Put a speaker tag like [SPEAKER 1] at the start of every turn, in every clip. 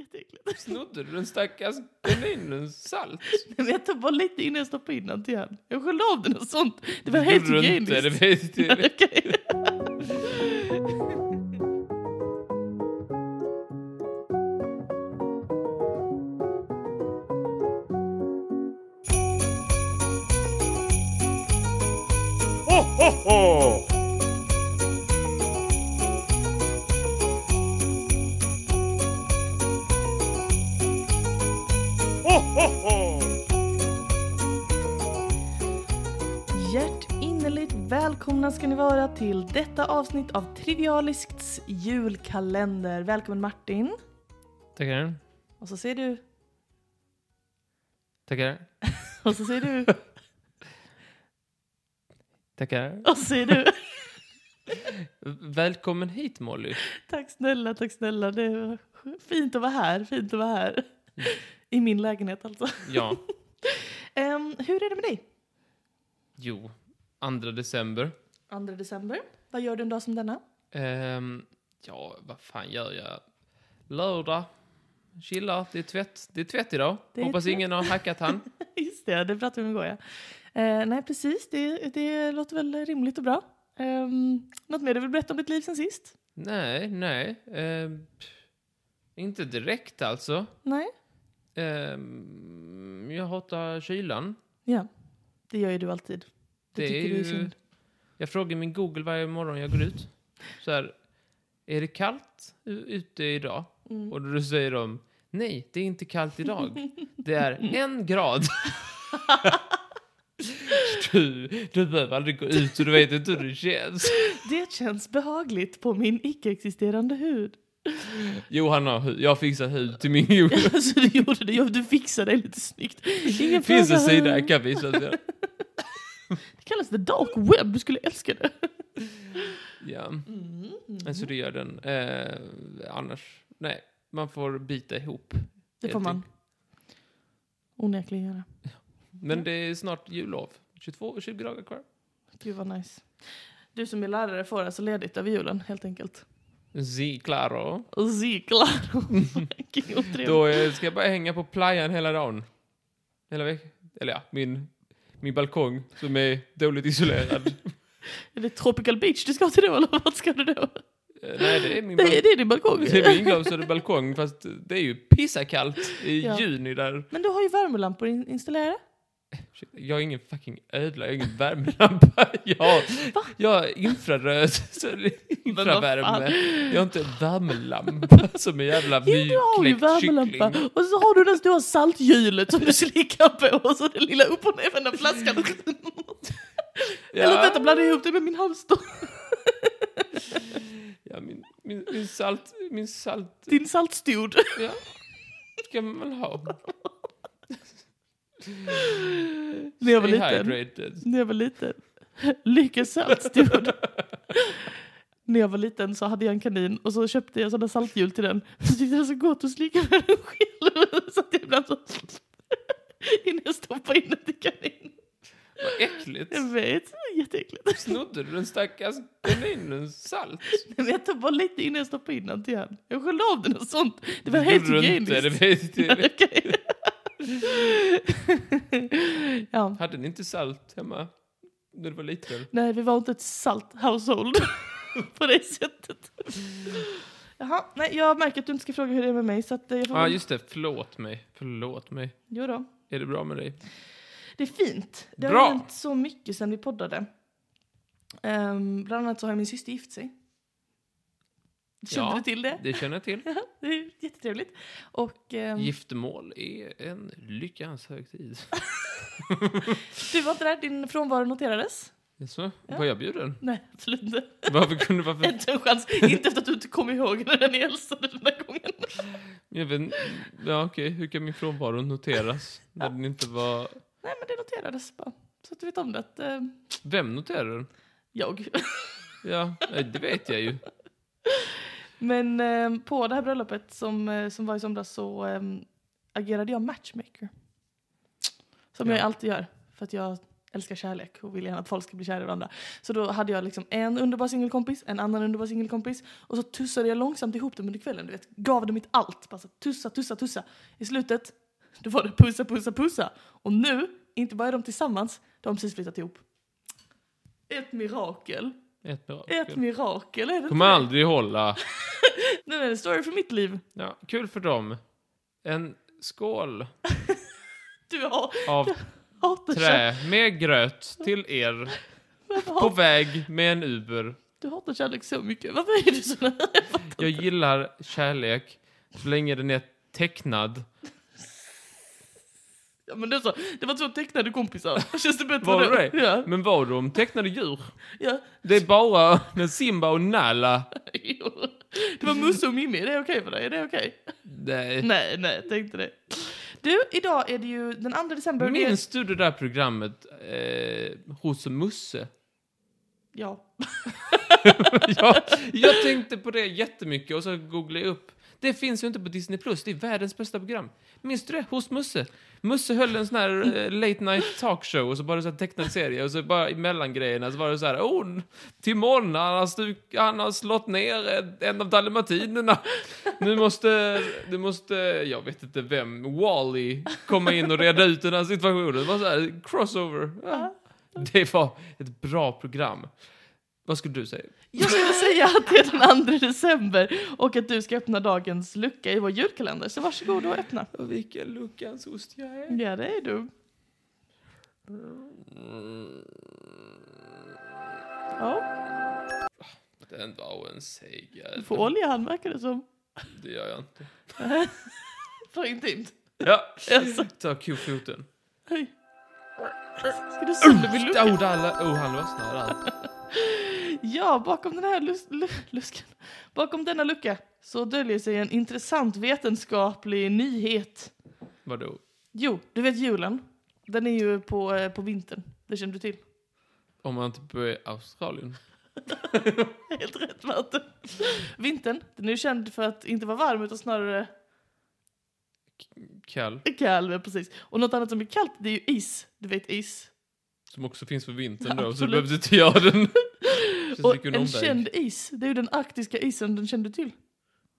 [SPEAKER 1] äckligt.
[SPEAKER 2] Snodde du den stackars kaninens salt?
[SPEAKER 1] Men jag tar bara lite innan jag stoppar in den till han. Jag sköljde av den och sånt. Det var helt
[SPEAKER 2] Gjorde du inte? Det
[SPEAKER 1] hygieniskt.
[SPEAKER 2] vet jag.
[SPEAKER 1] Nej, okej.
[SPEAKER 3] Ho, ho, ho! Ho, ho, ho!
[SPEAKER 1] Hjärtinnerligt välkomna ska ni vara till detta avsnitt av Trivialisks julkalender. Välkommen Martin.
[SPEAKER 2] Tackar.
[SPEAKER 1] Och så säger du...
[SPEAKER 2] Tackar.
[SPEAKER 1] Och så säger du...
[SPEAKER 2] Tackar.
[SPEAKER 1] Och så säger du...
[SPEAKER 2] Välkommen hit Molly.
[SPEAKER 1] Tack snälla, tack snälla. Det var fint att vara här, fint att vara här.
[SPEAKER 2] Mm.
[SPEAKER 1] I min lägenhet alltså.
[SPEAKER 2] Ja,
[SPEAKER 1] Ehm, hur är det med dig?
[SPEAKER 2] jo. 2 december.
[SPEAKER 1] 2 december. Vad gör du en dag som denna?
[SPEAKER 2] Ehm, ja, vad fan gör jag? Lördag. Chilla. Det är tvätt. Det är tvätt idag.
[SPEAKER 1] Det är
[SPEAKER 2] Hoppas
[SPEAKER 1] tvätt.
[SPEAKER 2] ingen har hackat han.
[SPEAKER 1] Just det, det pratade vi om igår ja. Eh, nej precis, det, det låter väl rimligt och bra. Um, något mer du vill berätta om ditt liv sen sist?
[SPEAKER 2] Nej, nej. Ehm, inte direkt alltså.
[SPEAKER 1] Nej?
[SPEAKER 2] Ehm, jag hatar kylan.
[SPEAKER 1] Ja, det gör ju du alltid. Det,
[SPEAKER 2] Det är
[SPEAKER 1] tycker du är
[SPEAKER 2] ju-
[SPEAKER 1] synd.
[SPEAKER 2] Jag frågar min Google varje morgon jag går ut. Så här, är det kallt u- ute idag?
[SPEAKER 1] Mm.
[SPEAKER 2] Och då säger de, nej, det är inte kallt idag. Det är en grad. du, du behöver aldrig gå ut och du vet inte hur det känns.
[SPEAKER 1] Det känns behagligt på min icke-existerande hud.
[SPEAKER 2] Jo, han har hud. Jag fixar hud till min Google.
[SPEAKER 1] alltså du gjorde det, ja, du fixade dig lite snyggt. Ingen
[SPEAKER 2] Finns en
[SPEAKER 1] fråga.
[SPEAKER 2] sida jag kan visa. till er.
[SPEAKER 1] Det kallas the dark web, du skulle älska det. Mm.
[SPEAKER 2] Ja, Mm. så det gör den. Eh, annars, nej, man får bita ihop.
[SPEAKER 1] Det får
[SPEAKER 2] Helt
[SPEAKER 1] man onekligen göra.
[SPEAKER 2] Men det är snart jullov. 22, 20 dagar kvar.
[SPEAKER 1] Gud vad nice. Du som är lärare får alltså ledigt över julen helt enkelt.
[SPEAKER 2] Sí, claro.
[SPEAKER 1] Sí, claro. Gud, vad trevligt.
[SPEAKER 2] Då eh, ska jag bara hänga på playan hela dagen. Hela veckan. Eller ja, min, min balkong som är dåligt isolerad.
[SPEAKER 1] Är det Tropical Beach du ska till då eller vad ska du då?
[SPEAKER 2] Eh, Nej, det är min
[SPEAKER 1] Det
[SPEAKER 2] balkong.
[SPEAKER 1] är, det är din balkong.
[SPEAKER 2] Det är min inglasade balkong, fast det är ju pissakallt i
[SPEAKER 1] Ja.
[SPEAKER 2] juni där.
[SPEAKER 1] Men du har ju värmelampor in- installerade.
[SPEAKER 2] Shit, Jag är ingen fucking ödla, jag är ingen värmelampa. Jag, jag har infraröd, så det är
[SPEAKER 1] vad fan?
[SPEAKER 2] infravärme. Jag har inte värmelampa som en jävla
[SPEAKER 1] Jo, du har ju
[SPEAKER 2] nykläckt
[SPEAKER 1] värmelampa.
[SPEAKER 2] kyckling.
[SPEAKER 1] Och så har du den stora salthjulet som du slickar på och så den lilla upp och nervända flaskan. Eller vänta, blanda ihop det med min hamster.
[SPEAKER 2] Ja, min, min, min salt... Min salt...
[SPEAKER 1] Din saltstod.
[SPEAKER 2] Ja. Ska man ha?
[SPEAKER 1] När jag var
[SPEAKER 2] Stay
[SPEAKER 1] liten.
[SPEAKER 2] hydrated.
[SPEAKER 1] När jag var liten. Lyckas saltstod. När jag var liten så hade jag en kanin och så köpte jag sådana salthjul till den. Så tyckte jag det var så gott att slicka med den själv. Så att jag ibland så... Innan jag stoppade in den i kaninen.
[SPEAKER 2] Vad äckligt.
[SPEAKER 1] Jag vet, jätteäckligt.
[SPEAKER 2] Snodde du den stackars kaninens salt?
[SPEAKER 1] Men jag tar bara lite innan jag stoppar in den till han. Jag sköljde av den och sånt. Det var helt
[SPEAKER 2] Gjorde du
[SPEAKER 1] hygieniskt.
[SPEAKER 2] inte, det vet jag.
[SPEAKER 1] Okej. ja.
[SPEAKER 2] Hade ni inte salt hemma? När du var liten?
[SPEAKER 1] Nej, vi var inte ett salt household på det sättet. Jaha, nej, jag märker att du inte ska fråga hur det är med mig så att eh, jag får...
[SPEAKER 2] Ja, ah, just det. Förlåt mig. Förlåt mig.
[SPEAKER 1] Jo då.
[SPEAKER 2] Är det bra med dig?
[SPEAKER 1] Det är fint. Det
[SPEAKER 2] Bra.
[SPEAKER 1] har hänt så mycket sen vi poddade. Um, bland annat så har min syster gift sig. Kände
[SPEAKER 2] Ja.
[SPEAKER 1] du till det?
[SPEAKER 2] Det känner jag till.
[SPEAKER 1] Det är jättetrevligt. Och ehm,
[SPEAKER 2] Giftermål är en lyckans högtid.
[SPEAKER 1] du var inte där, din frånvaro noterades.
[SPEAKER 2] Jaså? Var jag bjuden?
[SPEAKER 1] Nej, absolut inte.
[SPEAKER 2] Varför kunde... Varför?
[SPEAKER 1] Inte en chans. Inte efter att du inte kom ihåg när ni hälsade den där gången.
[SPEAKER 2] Jag vet, ja, okej. Hur kan min frånvaro noteras? När den inte var...
[SPEAKER 1] Nej, men det noterades bara. Så att du vet om det att eh,
[SPEAKER 2] Vem noterar den?
[SPEAKER 1] jag.
[SPEAKER 2] Ja, nej, det vet jag ju.
[SPEAKER 1] Men eh, på det här bröllopet som, eh, som var i somras så eh, agerade jag matchmaker. Som
[SPEAKER 2] Ja.
[SPEAKER 1] jag alltid gör. För att jag älskar kärlek och vill gärna att folk ska bli kära i varandra. Så då hade jag liksom en underbar singelkompis, en annan underbar singelkompis och så tussade jag långsamt ihop dem under kvällen. Du vet, gav dem mitt allt. Bara så tussa, tussa, tussa. I slutet, då var det pussa, pussa, pussa. Och nu, inte bara är de tillsammans, de har precis flyttat ihop. Ett mirakel.
[SPEAKER 2] Ett
[SPEAKER 1] Ett
[SPEAKER 2] mirakel.
[SPEAKER 1] mirakel är det
[SPEAKER 2] Kommer
[SPEAKER 1] inte?
[SPEAKER 2] aldrig hålla.
[SPEAKER 1] Den är en story för mitt liv.
[SPEAKER 2] Ja, kul för dem. En skål
[SPEAKER 1] Du har
[SPEAKER 2] av
[SPEAKER 1] hatar kärlek.
[SPEAKER 2] trä med gröt till er
[SPEAKER 1] Varför
[SPEAKER 2] på
[SPEAKER 1] hat-
[SPEAKER 2] väg med en Uber.
[SPEAKER 1] Du hatar kärlek så mycket. Varför är du så där?
[SPEAKER 2] Jag gillar kärlek så länge den är tecknad.
[SPEAKER 1] Ja, men det, är så. det var två tecknade kompisar. Känns det bättre
[SPEAKER 2] Var
[SPEAKER 1] då?
[SPEAKER 2] det det?
[SPEAKER 1] Ja.
[SPEAKER 2] Men var de tecknade djur?
[SPEAKER 1] ja.
[SPEAKER 2] Det är bara när Simba och Nala.
[SPEAKER 1] Jo. Det var Musse och Mimmi. Är det okej för dig? Är det okej?
[SPEAKER 2] Nej.
[SPEAKER 1] Nej, nej, jag tänkte det. Du, idag är det ju den 2 december. och det är-
[SPEAKER 2] Minns du det där programmet eh, hos Musse?
[SPEAKER 1] Ja.
[SPEAKER 2] jag, jag tänkte på det jättemycket och så googlade jag upp. Det finns ju inte på Disney+. Plus. Det är världens bästa program. Minns du det? Hos Musse. Musse höll en sån här eh, late night talkshow och så bara så här tecknad serie och så bara emellan grejerna så var det så här oh, n- Timon, han har, stuk, han har slått ner en- en av dalmatinerna. Nu måste, nu måste, jag vet inte vem, Wally komma in och reda ut den här situationen. Det var så här crossover. Ja. Det var ett bra program. Vad skulle du säga?
[SPEAKER 1] Jag skulle säga att det är den 2 december och att du ska öppna dagens lucka i vår julkalender. Så varsågod och öppna.
[SPEAKER 2] Och vilken Luckans ost jag är.
[SPEAKER 1] Ja, det är du.
[SPEAKER 2] Mm,
[SPEAKER 1] Ja,
[SPEAKER 2] Den var en seg jävel.
[SPEAKER 1] du får olja han verkar det som.
[SPEAKER 2] Det gör jag inte.
[SPEAKER 1] För intimt.
[SPEAKER 2] Ja.
[SPEAKER 1] Alltså.
[SPEAKER 2] Ta kofoten.
[SPEAKER 1] Hej. Ska du sönder min lucka?
[SPEAKER 2] Oh, där, la- oh, han lossnar där.
[SPEAKER 1] Ja, bakom den här lus- lu- luskan. Bakom denna lucka så döljer sig en intressant vetenskaplig nyhet.
[SPEAKER 2] Vadå?
[SPEAKER 1] Jo, du vet julen. Den är ju på, eh, på vintern. Det känner du till.
[SPEAKER 2] Om man inte bor i Australien.
[SPEAKER 1] Helt rätt Martin. Vintern, den är ju känd för att inte vara varm utan snarare
[SPEAKER 2] Kall.
[SPEAKER 1] kall. ja, Precis. Och något annat som är kallt det är ju is. Du vet is.
[SPEAKER 2] Som också finns på vintern då, så du
[SPEAKER 1] Absolut.
[SPEAKER 2] behövde inte göra den. Känns
[SPEAKER 1] Och
[SPEAKER 2] mycket
[SPEAKER 1] en
[SPEAKER 2] omväg.
[SPEAKER 1] känd is, det är ju den arktiska isen den kände du till.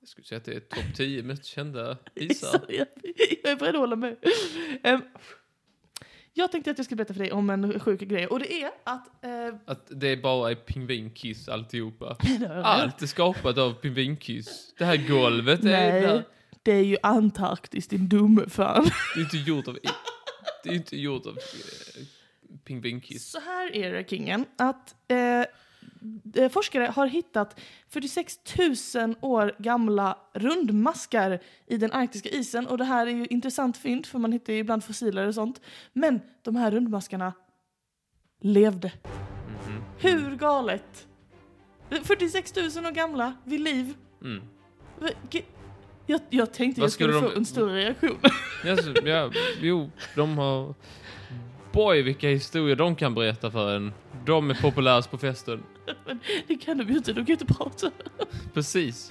[SPEAKER 2] Jag skulle säga att det är topp 10 mest kända isar.
[SPEAKER 1] Isar, ja. Jag är beredd att hålla med. Ehm, jag tänkte att jag skulle berätta för dig om en sjuk grej. Och det är att... eh,
[SPEAKER 2] Att det bara är pingvinkiss alltihopa.
[SPEAKER 1] det har jag redan-
[SPEAKER 2] Allt är skapat av pingvinkiss. Det här golvet är
[SPEAKER 1] Nej,
[SPEAKER 2] där.
[SPEAKER 1] det är ju Antarktis din dumme fan.
[SPEAKER 2] Det är inte gjort av... Det är inte gjort av eh, pingvinkiss.
[SPEAKER 1] Så här är det kingen, att eh, eh, forskare har hittat 46 000 år gamla rundmaskar i den arktiska isen. Och det här är ju intressant fynd för man hittar ju ibland fossiler och sånt. Men de här rundmaskarna levde. Mhm. Hur galet? 46 000 år gamla, vid liv.
[SPEAKER 2] Mm.
[SPEAKER 1] Va- ge- Jag, jag tänkte
[SPEAKER 2] Vad
[SPEAKER 1] jag skulle
[SPEAKER 2] skulle
[SPEAKER 1] få
[SPEAKER 2] de-
[SPEAKER 1] en större reaktion.
[SPEAKER 2] Yes, ja, jo, de har... Boy, vilka historier de kan berätta för en. De är populärast på festen.
[SPEAKER 1] Men det kan de ju inte, de kan ju inte prata.
[SPEAKER 2] Precis.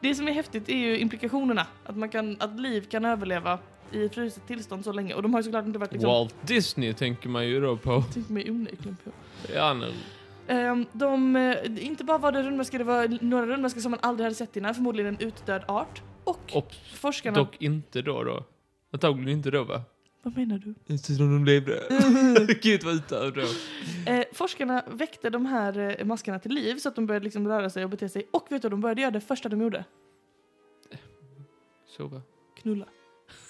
[SPEAKER 1] Det som är häftigt är ju implikationerna. Att, man kan, att liv kan överleva i fruset tillstånd så länge. Och de har ju såklart inte varit liksom...
[SPEAKER 2] Walt Disney tänker man ju då på.
[SPEAKER 1] Tänk mig onekligen på.
[SPEAKER 2] Ja, nu.
[SPEAKER 1] Ehm, de, eh, inte bara var det rundmaskar, det var några rundmaskar som man aldrig hade sett innan. Förmodligen en utdöd art. Och
[SPEAKER 2] Och
[SPEAKER 1] forskarna...
[SPEAKER 2] dock inte då då. Antagligen inte då va?
[SPEAKER 1] Vad menar du?
[SPEAKER 2] Inte som de levde. Gud vad utdöd då.
[SPEAKER 1] Eh, forskarna väckte de här eh, maskarna till liv så att de började liksom röra sig och bete sig. Och vet du vad de började göra det första de gjorde?
[SPEAKER 2] Så va?
[SPEAKER 1] Knulla.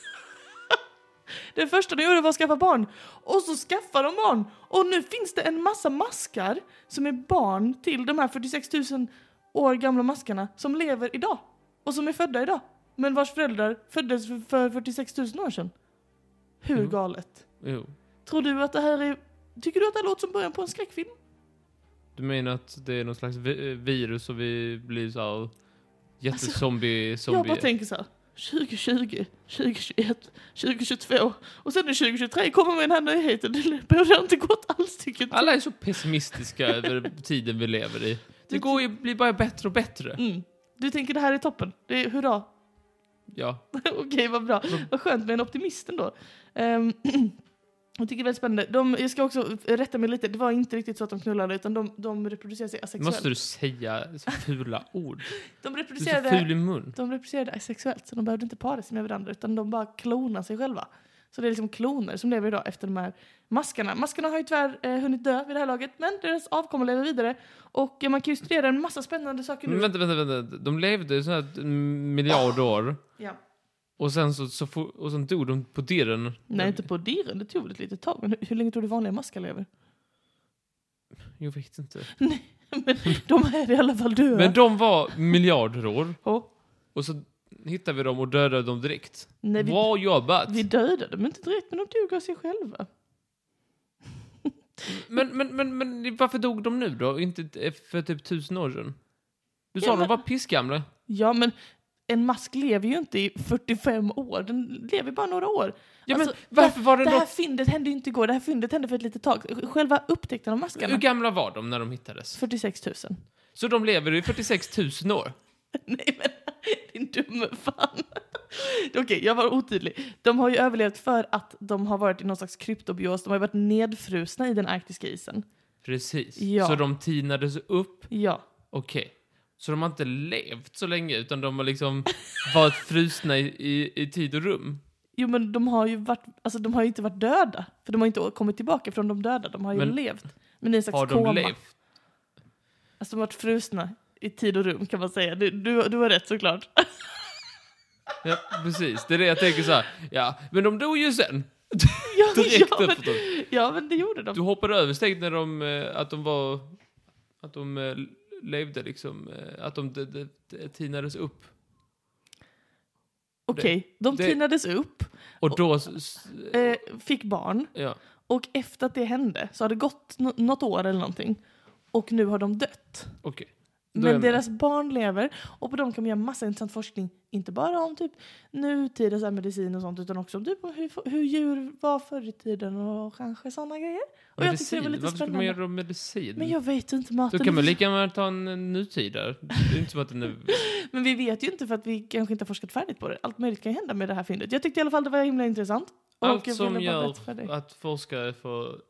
[SPEAKER 1] det första de gjorde var att skaffa barn. Och så skaffar de barn. Och nu finns det en massa maskar som är barn till de här 46 000 år gamla maskarna som lever idag. Och som är födda idag. Men vars föräldrar föddes för- för 46 000 år sedan. Hur
[SPEAKER 2] Mm.
[SPEAKER 1] galet?
[SPEAKER 2] Jo.
[SPEAKER 1] Tror du att det här är... Tycker du att det här låter som början på en skräckfilm?
[SPEAKER 2] Du menar att det är någon slags vi- eh, virus och vi blir så här jättezombie...
[SPEAKER 1] Alltså, Jag bara
[SPEAKER 2] zombie.
[SPEAKER 1] tänker så här. 2020, 2021, 2022 och sen i 2023 kommer vi med den här nyheten. Det borde inte gått alls tycker jag.
[SPEAKER 2] Alla är så pessimistiska över tiden vi lever i. Det går ju, blir bara bättre och bättre.
[SPEAKER 1] Mm. Du tänker det här är toppen, det är hurra.
[SPEAKER 2] Ja. Mm.
[SPEAKER 1] Okej, vad bra. Vad skönt med en optimist ändå. Ehm, Jag tycker det är väldigt spännande. De, jag ska också rätta mig lite, det var inte riktigt så att de knullade utan de, de reproducerade sig asexuellt.
[SPEAKER 2] Måste du säga så fula ord?
[SPEAKER 1] De
[SPEAKER 2] Du är så
[SPEAKER 1] reproducerade...
[SPEAKER 2] ful i mun.
[SPEAKER 1] De reproducerade asexuellt, så de behövde inte para sig med varandra utan de bara klonade sig själva. Så det är liksom kloner som lever idag efter de här maskarna. Maskarna har ju tyvärr eh, hunnit dö vid det här laget, men deras avkommor lever vidare. Och eh, man kan ju studera en massa spännande saker nu.
[SPEAKER 2] Men vänta, vänta, vänta. De levde i sådana här en miljard år.
[SPEAKER 1] Ja.
[SPEAKER 2] Och sen så, så, for, och sen dog de på dirren.
[SPEAKER 1] Nej, inte på dyren. Det tog väl ett litet tag. Men hur, hur länge tror du vanliga maskar lever?
[SPEAKER 2] Jag vet inte.
[SPEAKER 1] men de är i alla fall döda.
[SPEAKER 2] Men de var miljarder år.
[SPEAKER 1] Åh,
[SPEAKER 2] Och så hittade vi dem och dödade dem direkt.
[SPEAKER 1] nej, vi,
[SPEAKER 2] Bra jobbat!
[SPEAKER 1] vi dödade dem inte direkt, men de dog av sig själva.
[SPEAKER 2] Men, men, men, men varför dog de nu då? Inte för typ tusen år sedan? Du sa
[SPEAKER 1] Ja,
[SPEAKER 2] de
[SPEAKER 1] men-
[SPEAKER 2] var pissgamla.
[SPEAKER 1] Ja, men en mask lever ju inte i 45 år. Den lever bara några år.
[SPEAKER 2] Ja, men
[SPEAKER 1] Alltså,
[SPEAKER 2] varför var det
[SPEAKER 1] Det här
[SPEAKER 2] då?
[SPEAKER 1] fyndet hände ju inte igår, det här fyndet hände för ett litet tag. Själva upptäckten av maskarna.
[SPEAKER 2] Hur gamla var de när de hittades?
[SPEAKER 1] 46 000.
[SPEAKER 2] Så de lever i 46 000 år?
[SPEAKER 1] Nej men, din dumme fan. Okej, jag var otydlig. De har ju överlevt för att de har varit i någon slags kryptobios, de har ju varit nedfrusna i den arktiska isen.
[SPEAKER 2] Precis.
[SPEAKER 1] Ja.
[SPEAKER 2] Så de tinades upp.
[SPEAKER 1] Ja.
[SPEAKER 2] Okej. Så de har inte levt så länge utan de har liksom varit frusna i, i, i tid och rum.
[SPEAKER 1] Jo men de har ju varit, alltså de har ju inte varit döda. För de har ju inte kommit tillbaka från de döda, de har ju
[SPEAKER 2] Men-
[SPEAKER 1] levt. Men i en slags
[SPEAKER 2] Har de
[SPEAKER 1] koma.
[SPEAKER 2] levt?
[SPEAKER 1] Alltså de har varit frusna i tid och rum kan man säga. Du, du, du har rätt såklart.
[SPEAKER 2] Ja, precis. Det är det jag tänker så här. Ja, men de dog ju sen.
[SPEAKER 1] Ja,
[SPEAKER 2] Direkt
[SPEAKER 1] ja, men,
[SPEAKER 2] efteråt.
[SPEAKER 1] ja men det gjorde de.
[SPEAKER 2] Du hoppade över steg när de, eh, att de var, att de eh, levde liksom, eh, att de, de, de, de tinades upp.
[SPEAKER 1] Okej, de
[SPEAKER 2] det-
[SPEAKER 1] tinades upp,
[SPEAKER 2] Och då, s- s-
[SPEAKER 1] eh, fick barn
[SPEAKER 2] ja.
[SPEAKER 1] och efter att det hände så har det gått no- något år eller någonting och nu har de dött.
[SPEAKER 2] Okej. Då är jag
[SPEAKER 1] Men
[SPEAKER 2] med.
[SPEAKER 1] deras barn lever och på dem kan man göra massa intressant forskning. Inte bara om typ nutida så här medicin och sånt utan också om typ hur, hur djur var förr i tiden och kanske sådana grejer. Och jag tyckte det var
[SPEAKER 2] Medicin.
[SPEAKER 1] lite
[SPEAKER 2] Varför skulle man
[SPEAKER 1] spännande.
[SPEAKER 2] göra dem medicin?
[SPEAKER 1] Men jag vet ju inte Martin.
[SPEAKER 2] då kan man lika gärna ta en eh, nutida. Det är inte som att den är...
[SPEAKER 1] Men vi vet ju inte för att vi kanske inte har forskat färdigt på det. Allt möjligt kan ju hända med det här fyndet. Jag tyckte i alla fall det var himla intressant. Och jag
[SPEAKER 2] Allt
[SPEAKER 1] vill
[SPEAKER 2] som
[SPEAKER 1] bara
[SPEAKER 2] gör
[SPEAKER 1] berätta för dig.
[SPEAKER 2] att forskare får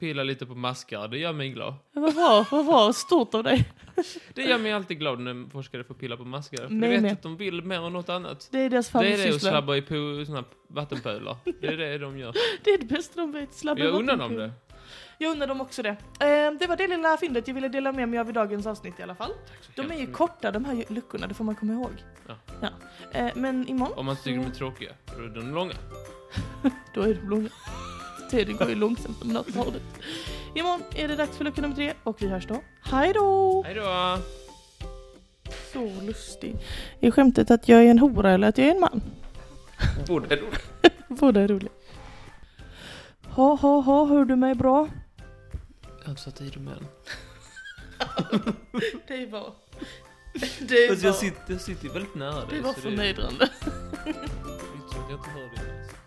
[SPEAKER 2] pilla lite på maskar, det gör mig glad.
[SPEAKER 1] Vad var, vad var stort av dig.
[SPEAKER 2] Det gör mig alltid glad när forskare får pilla på maskar. För
[SPEAKER 1] Mig
[SPEAKER 2] jag vet
[SPEAKER 1] med.
[SPEAKER 2] att de vill mer än något annat.
[SPEAKER 1] Det är deras
[SPEAKER 2] Det är det att
[SPEAKER 1] favoritsyssla.
[SPEAKER 2] slabba i po- såna här vattenpölar. Det är det de gör.
[SPEAKER 1] Det är det bästa de vet. Slabba
[SPEAKER 2] Jag
[SPEAKER 1] bort
[SPEAKER 2] undrar
[SPEAKER 1] en
[SPEAKER 2] dem
[SPEAKER 1] kul.
[SPEAKER 2] det.
[SPEAKER 1] Jag undrar dem också det. Eh, det var det lilla fyndet jag ville dela med mig av i dagens avsnitt i alla fall. De är ju korta de här luckorna, det får man komma ihåg.
[SPEAKER 2] Ja.
[SPEAKER 1] Eh, men imorgon,
[SPEAKER 2] Om man tycker de är tråkiga, då är de långa.
[SPEAKER 1] då är de långa. Tiden går ju långsamt om man har tråkigt. Imorgon är det dags för lucka nummer tre och vi hörs då. Hej då!
[SPEAKER 2] Hej då!
[SPEAKER 1] Så lustig. Är skämtet att jag är en hora eller att jag är en man?
[SPEAKER 2] Borde
[SPEAKER 1] Båda är roliga. Ha ha ha, hör du mig bra?
[SPEAKER 2] Översatt i dem igen.
[SPEAKER 1] Det är bra. Det
[SPEAKER 2] Alltså, Jag sitter, jag sitter väldigt nära dig.
[SPEAKER 1] Det var
[SPEAKER 2] så
[SPEAKER 1] förnedrande.
[SPEAKER 2] det är inte så att Jag inte hör dig. alls.